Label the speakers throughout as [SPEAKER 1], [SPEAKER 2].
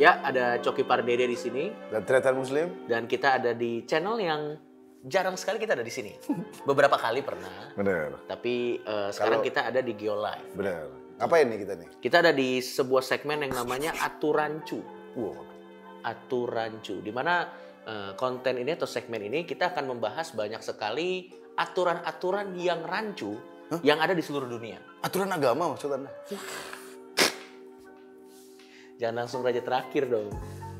[SPEAKER 1] Ya, ada Coki Pardede di sini
[SPEAKER 2] Dan Tretan Muslim?
[SPEAKER 1] dan kita ada di channel yang jarang sekali kita ada di sini. Beberapa kali pernah,
[SPEAKER 2] Bener,
[SPEAKER 1] tapi eh, sekarang
[SPEAKER 2] Kalau-
[SPEAKER 1] kita ada di Geo Live.
[SPEAKER 2] bener. Apa ini kita nih?
[SPEAKER 1] Kita ada di sebuah segmen yang namanya Aturancu.
[SPEAKER 2] Wow.
[SPEAKER 1] Aturancu, di mana eh, konten ini atau segmen ini kita akan membahas banyak sekali aturan-aturan yang rancu yang ada di seluruh dunia.
[SPEAKER 2] Aturan agama maksud Anda?
[SPEAKER 1] Jangan langsung raja terakhir dong.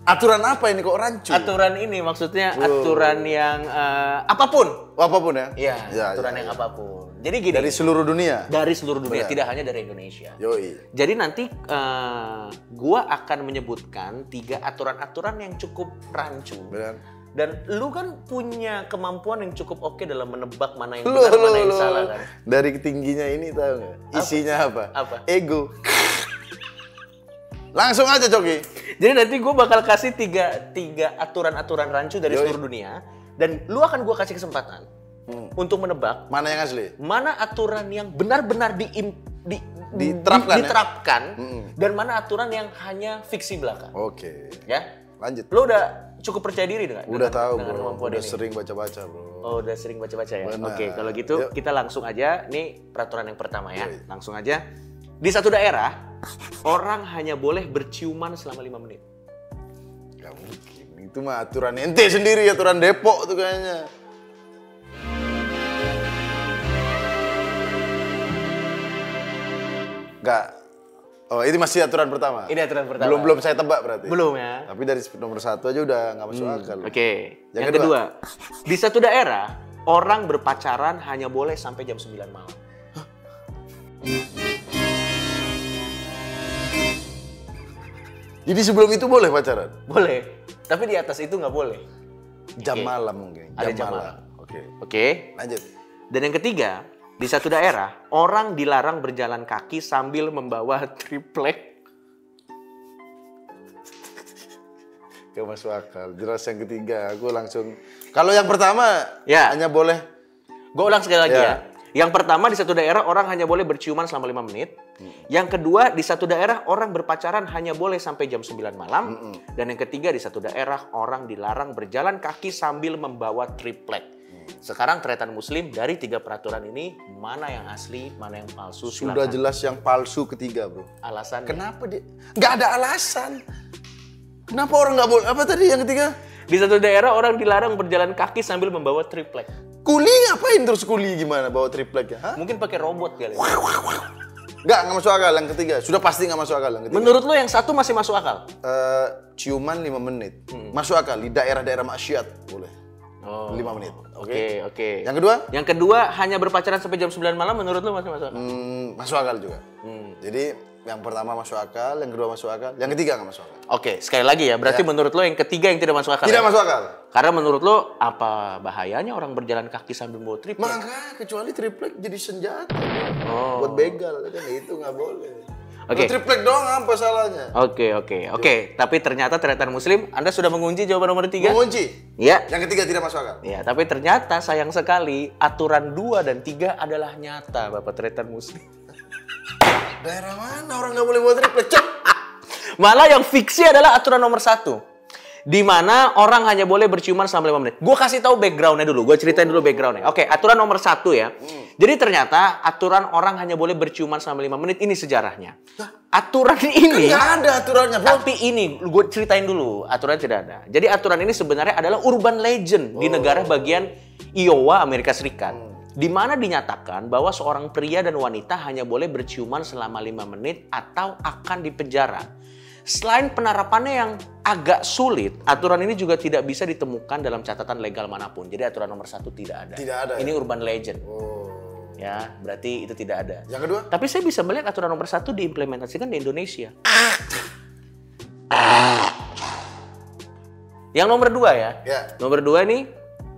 [SPEAKER 2] Aturan apa ini kok rancu?
[SPEAKER 1] Aturan ini maksudnya aturan yang eh, apapun.
[SPEAKER 2] Apapun ya?
[SPEAKER 1] Iya,
[SPEAKER 2] Ya,
[SPEAKER 1] aturan
[SPEAKER 2] ya.
[SPEAKER 1] yang apapun. Jadi gini,
[SPEAKER 2] Dari Iya. seluruh dunia?
[SPEAKER 1] dari seluruh dunia, tidak hanya dari Indonesia.
[SPEAKER 2] Yoi.
[SPEAKER 1] Jadi nanti eh, gua akan menyebutkan tiga aturan-aturan yang cukup rancu.
[SPEAKER 2] Bener.
[SPEAKER 1] Dan lu kan punya kemampuan yang cukup oke dalam menebak mana yang
[SPEAKER 2] Lu,
[SPEAKER 1] benar,
[SPEAKER 2] lu,
[SPEAKER 1] mana yang
[SPEAKER 2] lu.
[SPEAKER 1] salah kan.
[SPEAKER 2] Dari tingginya ini tahu nggak? Isinya apa?
[SPEAKER 1] Apa?
[SPEAKER 2] Ego. Langsung aja Coki.
[SPEAKER 1] Jadi nanti gua bakal kasih tiga tiga aturan-aturan rancu dari
[SPEAKER 2] Yoi.
[SPEAKER 1] seluruh dunia dan lu akan gua kasih kesempatan
[SPEAKER 2] Hmm.
[SPEAKER 1] untuk menebak
[SPEAKER 2] Mana yang asli?
[SPEAKER 1] mana aturan yang benar-benar diim- di-
[SPEAKER 2] Diterapkan,
[SPEAKER 1] di-
[SPEAKER 2] ya?
[SPEAKER 1] diterapkan,
[SPEAKER 2] Mm-mm.
[SPEAKER 1] dan mana aturan yang hanya fiksi belaka.
[SPEAKER 2] Oke.
[SPEAKER 1] Ya,
[SPEAKER 2] Lanjut.
[SPEAKER 1] lo udah cukup percaya diri nggak? dengan-
[SPEAKER 2] Udah tahu
[SPEAKER 1] dengan
[SPEAKER 2] bro.
[SPEAKER 1] kemampuan
[SPEAKER 2] Udah
[SPEAKER 1] ini?
[SPEAKER 2] sering baca-baca bro.
[SPEAKER 1] Oh, udah sering baca-baca ya.
[SPEAKER 2] Benar.
[SPEAKER 1] Oke, kalau gitu
[SPEAKER 2] Yuk.
[SPEAKER 1] kita langsung aja. Ini peraturan yang pertama ya.
[SPEAKER 2] Yoi.
[SPEAKER 1] Langsung aja. Di satu daerah, orang hanya boleh berciuman selama lima menit.
[SPEAKER 2] Gak mungkin. Itu mah aturan ente sendiri, aturan Depok tuh kayaknya. Gak. Oh, ini masih aturan pertama.
[SPEAKER 1] Ini aturan pertama.
[SPEAKER 2] Belum belum saya tebak berarti.
[SPEAKER 1] Belum Hmm. ya.
[SPEAKER 2] Tapi dari nomor satu aja udah nggak masuk akal.
[SPEAKER 1] Oke.
[SPEAKER 2] Yang
[SPEAKER 1] Yang,
[SPEAKER 2] kedua.
[SPEAKER 1] kedua. di satu daerah orang berpacaran hanya boleh sampai jam 9 malam.
[SPEAKER 2] Jadi sebelum itu boleh pacaran?
[SPEAKER 1] Boleh, tapi di atas itu nggak boleh.
[SPEAKER 2] Jam
[SPEAKER 1] Oke.
[SPEAKER 2] malam mungkin.
[SPEAKER 1] Ada jam malam.
[SPEAKER 2] Oke.
[SPEAKER 1] Oke.
[SPEAKER 2] Lanjut.
[SPEAKER 1] Dan yang ketiga, di satu daerah orang dilarang berjalan kaki sambil membawa triplek.
[SPEAKER 2] Gak masuk akal. Jelas yang ketiga. Aku langsung. Kalau yang pertama
[SPEAKER 1] Ya.
[SPEAKER 2] hanya boleh.
[SPEAKER 1] Gue ulang sekali lagi
[SPEAKER 2] Ya.
[SPEAKER 1] ya. Yang pertama di satu daerah orang hanya boleh berciuman selama lima menit. Yang kedua di satu daerah orang berpacaran hanya boleh sampai jam 9 malam. Dan yang ketiga di satu daerah orang dilarang berjalan kaki sambil membawa triplek. Sekarang tretan muslim dari tiga peraturan ini mana yang asli, mana yang palsu?
[SPEAKER 2] Sudah
[SPEAKER 1] Silakan.
[SPEAKER 2] jelas yang palsu ketiga bro.
[SPEAKER 1] alasan.
[SPEAKER 2] Kenapa dia? Nggak ada alasan. Kenapa orang nggak boleh? Apa tadi yang ketiga?
[SPEAKER 1] Di satu daerah orang dilarang berjalan kaki sambil membawa triplek.
[SPEAKER 2] Kuli ngapain terus kuli gimana bawa triplek ya? Hah?
[SPEAKER 1] Mungkin pakai robot kali. ya.
[SPEAKER 2] Nggak, nggak masuk akal yang ketiga. Sudah pasti nggak masuk akal yang ketiga.
[SPEAKER 1] Menurut lo yang satu masih masuk akal?
[SPEAKER 2] Eh, ciuman 5 menit. Masuk akal di daerah-daerah maksiat boleh.
[SPEAKER 1] Hmm. Oh.
[SPEAKER 2] 5 menit. Oke.
[SPEAKER 1] Oke, oke.
[SPEAKER 2] Yang kedua?
[SPEAKER 1] Yang kedua hanya berpacaran sampai jam 9 malam menurut lu masih masuk akal?
[SPEAKER 2] Hmm, masuk akal juga.
[SPEAKER 1] Hmm.
[SPEAKER 2] Jadi yang pertama masuk akal, yang kedua masuk akal, yang ketiga nggak masuk akal.
[SPEAKER 1] Oke, sekali lagi ya. Berarti menurut lo yang ketiga yang tidak masuk akal.
[SPEAKER 2] Tidak
[SPEAKER 1] ya?
[SPEAKER 2] masuk akal.
[SPEAKER 1] Karena menurut lo apa bahayanya orang berjalan kaki sambil bawa trip?
[SPEAKER 2] Maka kecuali triplek jadi senjata
[SPEAKER 1] Oh.
[SPEAKER 2] buat begal kan itu nggak boleh.
[SPEAKER 1] Oke.
[SPEAKER 2] Kalau Triplek doang apa salahnya?
[SPEAKER 1] Oke, oke, oke. Tapi ternyata ternyata muslim, Anda sudah mengunci jawaban nomor tiga?
[SPEAKER 2] Mengunci.
[SPEAKER 1] Iya.
[SPEAKER 2] Yang ketiga tidak masuk akal.
[SPEAKER 1] Ya, tapi ternyata sayang sekali aturan dua dan tiga adalah nyata, Bapak Tretan Muslim.
[SPEAKER 2] Daerah mana orang nggak boleh buat triplek? Cep.
[SPEAKER 1] Malah yang fiksi adalah aturan nomor satu. Di mana orang hanya boleh berciuman selama 5 menit. Gue kasih tahu backgroundnya dulu. Gue ceritain dulu backgroundnya. Oke, aturan nomor satu ya. Jadi ternyata aturan orang hanya boleh berciuman selama 5 menit ini sejarahnya. Aturan ini,
[SPEAKER 2] Nggak ada aturannya, Bro.
[SPEAKER 1] tapi ini gue ceritain dulu. Aturan tidak ada. Jadi aturan ini sebenarnya adalah urban legend
[SPEAKER 2] Oh.
[SPEAKER 1] di negara bagian Iowa, Amerika Serikat.
[SPEAKER 2] Hmm.
[SPEAKER 1] Di mana dinyatakan bahwa seorang pria dan wanita hanya boleh berciuman selama 5 menit atau akan dipenjara. Selain penerapannya yang agak sulit, aturan ini juga tidak bisa ditemukan dalam catatan legal manapun. Jadi aturan nomor satu tidak ada.
[SPEAKER 2] Tidak ada, ya?
[SPEAKER 1] Ini urban legend.
[SPEAKER 2] Oh.
[SPEAKER 1] Ya, berarti itu tidak ada.
[SPEAKER 2] Yang kedua?
[SPEAKER 1] Tapi saya bisa melihat aturan nomor satu diimplementasikan di Indonesia. Yang nomor dua ya.
[SPEAKER 2] Ya.
[SPEAKER 1] Nomor dua nih,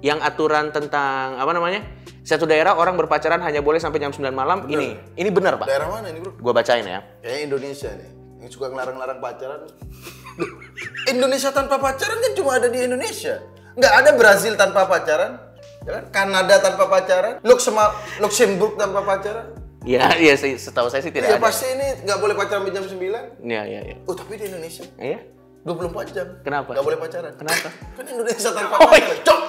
[SPEAKER 1] yang aturan tentang apa namanya? Satu daerah orang berpacaran hanya boleh sampai jam 9 malam. Ini, ini benar pak.
[SPEAKER 2] Daerah mana ini, Bro?
[SPEAKER 1] Gue bacain ya.
[SPEAKER 2] Kayaknya Indonesia nih. Yang suka ngelarang-larang pacaran. Indonesia tanpa pacaran kan cuma ada di Indonesia. Nggak ada Brazil tanpa pacaran. Ya kan? Kanada tanpa pacaran. Luxema- Luxembourg tanpa pacaran.
[SPEAKER 1] Ya, ya sih, setahu saya sih tidak
[SPEAKER 2] Ya
[SPEAKER 1] ada.
[SPEAKER 2] pasti ini nggak boleh pacaran sampai jam 9.
[SPEAKER 1] Iya, iya, iya.
[SPEAKER 2] Oh, tapi di Indonesia
[SPEAKER 1] Iya.
[SPEAKER 2] 24 jam.
[SPEAKER 1] Kenapa?
[SPEAKER 2] Gak boleh pacaran.
[SPEAKER 1] Kenapa?
[SPEAKER 2] Kan Indonesia tanpa
[SPEAKER 1] Oh, iya.
[SPEAKER 2] pacaran. Cok!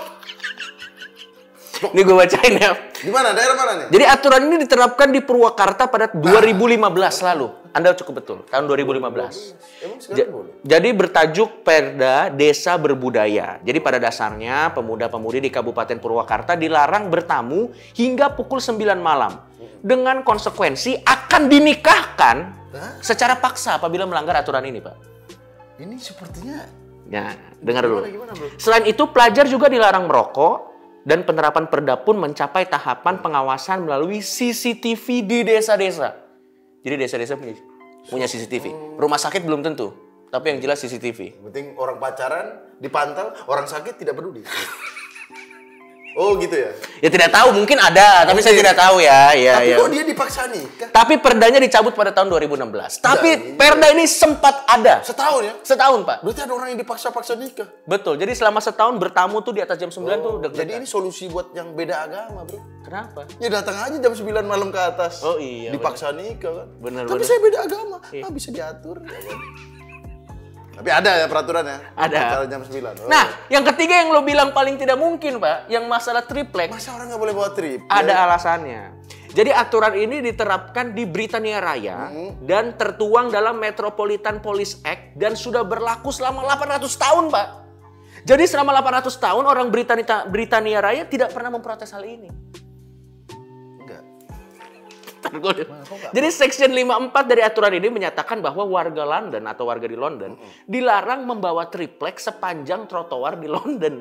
[SPEAKER 1] Ini gue bacain ya.
[SPEAKER 2] Di mana? Daerah mana nih?
[SPEAKER 1] Jadi aturan ini diterapkan di Purwakarta pada 2015 lalu. Anda cukup betul, tahun 2015. Ja-
[SPEAKER 2] Emang sekarang boleh?
[SPEAKER 1] jadi bertajuk Perda Desa Berbudaya. Jadi pada dasarnya pemuda-pemudi di Kabupaten Purwakarta dilarang bertamu hingga pukul 9 malam. Dengan konsekuensi akan dinikahkan
[SPEAKER 2] Hah?
[SPEAKER 1] secara paksa apabila melanggar aturan ini, Pak.
[SPEAKER 2] Ini sepertinya
[SPEAKER 1] Ya, dengar dulu.
[SPEAKER 2] Gimana, gimana, bro?
[SPEAKER 1] Selain itu, pelajar juga dilarang merokok dan penerapan perda pun mencapai tahapan pengawasan melalui CCTV di desa-desa. Jadi desa-desa punya, punya CCTV. Rumah sakit belum tentu, tapi yang jelas CCTV.
[SPEAKER 2] yang penting orang pacaran dipantau, orang sakit tidak peduli. oh gitu ya.
[SPEAKER 1] Ya tidak tahu, mungkin ada, tapi saya tidak tahu ya. ya,
[SPEAKER 2] Tapi
[SPEAKER 1] ya.
[SPEAKER 2] kok dia dipaksa nikah?
[SPEAKER 1] Tapi perdanya dicabut pada tahun 2016. Tapi
[SPEAKER 2] Ya, iya.
[SPEAKER 1] perda ini sempat ada
[SPEAKER 2] Setahun ya?
[SPEAKER 1] setahun, Pak.
[SPEAKER 2] Berarti ada orang yang dipaksa-paksa nikah.
[SPEAKER 1] Betul. Jadi selama setahun bertamu tuh di atas jam 9 tuh deg
[SPEAKER 2] Jadi ini solusi buat yang beda agama, Bro.
[SPEAKER 1] Kenapa?
[SPEAKER 2] Ya datang aja jam 9 malam ke atas.
[SPEAKER 1] Oh, iya,
[SPEAKER 2] Dipaksa nikah kan.
[SPEAKER 1] Bener,
[SPEAKER 2] Tapi
[SPEAKER 1] bener.
[SPEAKER 2] saya beda agama.
[SPEAKER 1] Iya.
[SPEAKER 2] Ah, bisa diatur. ya kan? Tapi ada ya peraturannya.
[SPEAKER 1] Ada.
[SPEAKER 2] Pacaran jam 9. Oh.
[SPEAKER 1] Nah, yang ketiga yang lo bilang paling tidak mungkin, Pak, yang masalah triplek
[SPEAKER 2] masa orang nggak boleh bawa trip?
[SPEAKER 1] ada alasannya. Jadi aturan ini diterapkan di Britania Raya dan tertuang dalam Metropolitan Police Act dan sudah berlaku selama 800 tahun, Pak. Jadi selama 800 tahun orang Britania Britania Raya tidak pernah memprotes hal ini.
[SPEAKER 2] Enggak.
[SPEAKER 1] Ntar gua dulu. Jadi section 54 dari aturan ini menyatakan bahwa warga London atau warga di London dilarang membawa triplek sepanjang trotoar di London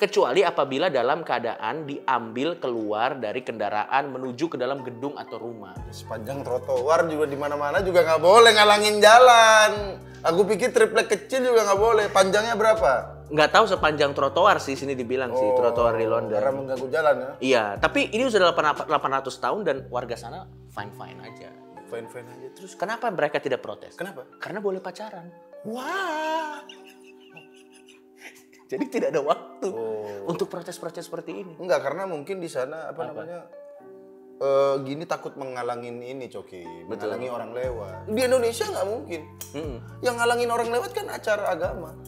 [SPEAKER 1] kecuali apabila dalam keadaan diambil keluar dari kendaraan menuju ke dalam gedung atau rumah.
[SPEAKER 2] Sepanjang trotoar juga di mana-mana juga nggak boleh ngalangin jalan. Aku pikir triplek kecil juga nggak boleh. Panjangnya berapa?
[SPEAKER 1] Nggak tahu sepanjang trotoar sih sini dibilang sih trotoar di London.
[SPEAKER 2] Karena mengganggu jalan ya.
[SPEAKER 1] Iya, tapi ini sudah 800 tahun dan warga sana fine-fine aja.
[SPEAKER 2] Fine-fine aja terus.
[SPEAKER 1] Kenapa mereka tidak protes?
[SPEAKER 2] Kenapa?
[SPEAKER 1] Karena boleh pacaran.
[SPEAKER 2] Wah.
[SPEAKER 1] Jadi tidak ada waktu
[SPEAKER 2] Oh.
[SPEAKER 1] untuk protes-protes seperti ini.
[SPEAKER 2] Enggak, karena mungkin di sana apa, namanya eh, gini takut mengalangin ini coki, mengalangi orang lewat. Di Indonesia nggak mungkin.
[SPEAKER 1] Mm-mm.
[SPEAKER 2] Yang ngalangin orang lewat kan acara agama.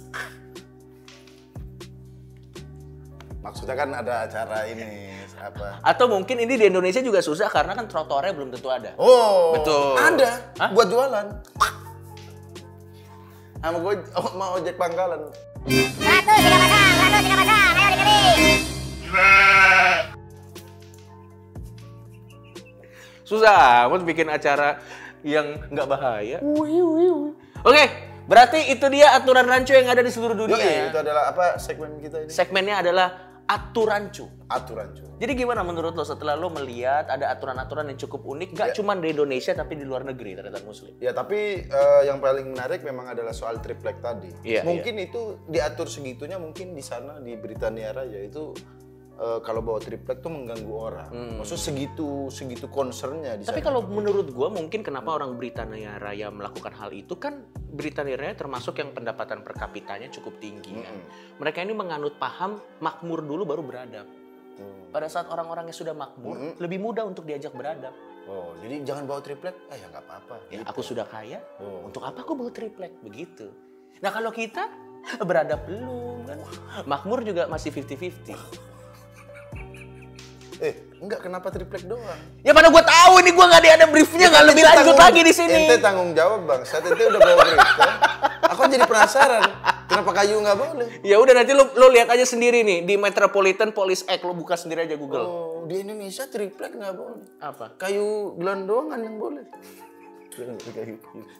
[SPEAKER 2] Maksudnya kan ada acara ini apa?
[SPEAKER 1] Atau mungkin ini di Indonesia juga susah karena kan trotoarnya belum tentu ada.
[SPEAKER 2] Oh,
[SPEAKER 1] Betul.
[SPEAKER 2] Ada
[SPEAKER 1] Hah?
[SPEAKER 2] buat jualan. Sama gue mau ojek pangkalan.
[SPEAKER 3] Satu tiga pasang, satu tiga pasang, ayo dikali.
[SPEAKER 1] Susah amat bikin acara yang nggak bahaya. Oke, berarti itu dia aturan rancu yang ada di seluruh dunia.
[SPEAKER 2] Yoi,
[SPEAKER 1] ya.
[SPEAKER 2] itu adalah apa segmen kita ini?
[SPEAKER 1] Segmennya adalah aturancu.
[SPEAKER 2] Aturan cuy.
[SPEAKER 1] Jadi gimana menurut lo setelah lo melihat ada aturan-aturan yang cukup unik gak cuma di Indonesia tapi di luar negeri terhadap muslim?
[SPEAKER 2] Ya tapi eh, yang paling menarik memang adalah soal triplek tadi.
[SPEAKER 1] Iya,
[SPEAKER 2] mungkin itu diatur segitunya mungkin di sana di Britania Raya itu eh, kalau bawa triplek tuh mengganggu orang. Maksud segitu segitu concernnya di
[SPEAKER 1] Hmm. Tapi
[SPEAKER 2] sana.
[SPEAKER 1] kalau menurut gua mungkin kenapa orang Britania Raya melakukan hal itu kan Britania Raya termasuk yang pendapatan per kapitanya cukup tinggi kan. Mereka ini menganut paham makmur dulu baru beradab.
[SPEAKER 2] Hmm.
[SPEAKER 1] Pada saat orang-orangnya sudah makmur, lebih mudah untuk diajak beradab.
[SPEAKER 2] Oh, jadi jangan bawa triplek. Ah ya nggak apa-apa.
[SPEAKER 1] Ya, aku sudah kaya,
[SPEAKER 2] Oh.
[SPEAKER 1] untuk apa aku bawa triplek begitu? Nah kalau kita beradab belum kan, makmur juga masih 50-50.
[SPEAKER 2] Eh, enggak kenapa triplek doang?
[SPEAKER 1] Ya mana gua tahu ini gua nggak ada- ada briefnya nggak lebih
[SPEAKER 2] Ente
[SPEAKER 1] lanjut
[SPEAKER 2] tanggung-
[SPEAKER 1] lagi di sini.
[SPEAKER 2] Ente tanggung jawab, Bang. Saat ente udah bawa berita, aku jadi penasaran. Kenapa kayu nggak boleh?
[SPEAKER 1] Ya udah nanti lo lo lihat aja sendiri nih di Metropolitan Police Act lo buka sendiri aja Google.
[SPEAKER 2] Oh, di Indonesia triplek nggak boleh.
[SPEAKER 1] Apa?
[SPEAKER 2] kayu gelandangan yang boleh.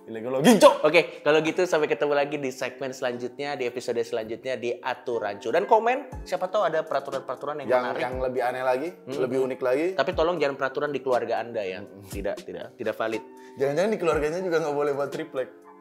[SPEAKER 2] Ilegologi, cok.
[SPEAKER 1] Oke, kalau gitu sampai ketemu lagi di segmen selanjutnya, di episode selanjutnya di Aturancu. Dan komen, siapa tahu ada peraturan-peraturan yang,
[SPEAKER 2] Yang
[SPEAKER 1] menarik.
[SPEAKER 2] yang lebih aneh lagi, lebih unik lagi.
[SPEAKER 1] Tapi tolong jangan peraturan di keluarga Anda ya. Tidak, tidak, tidak valid.
[SPEAKER 2] Jangan-jangan di keluarganya juga nggak boleh buat triplek.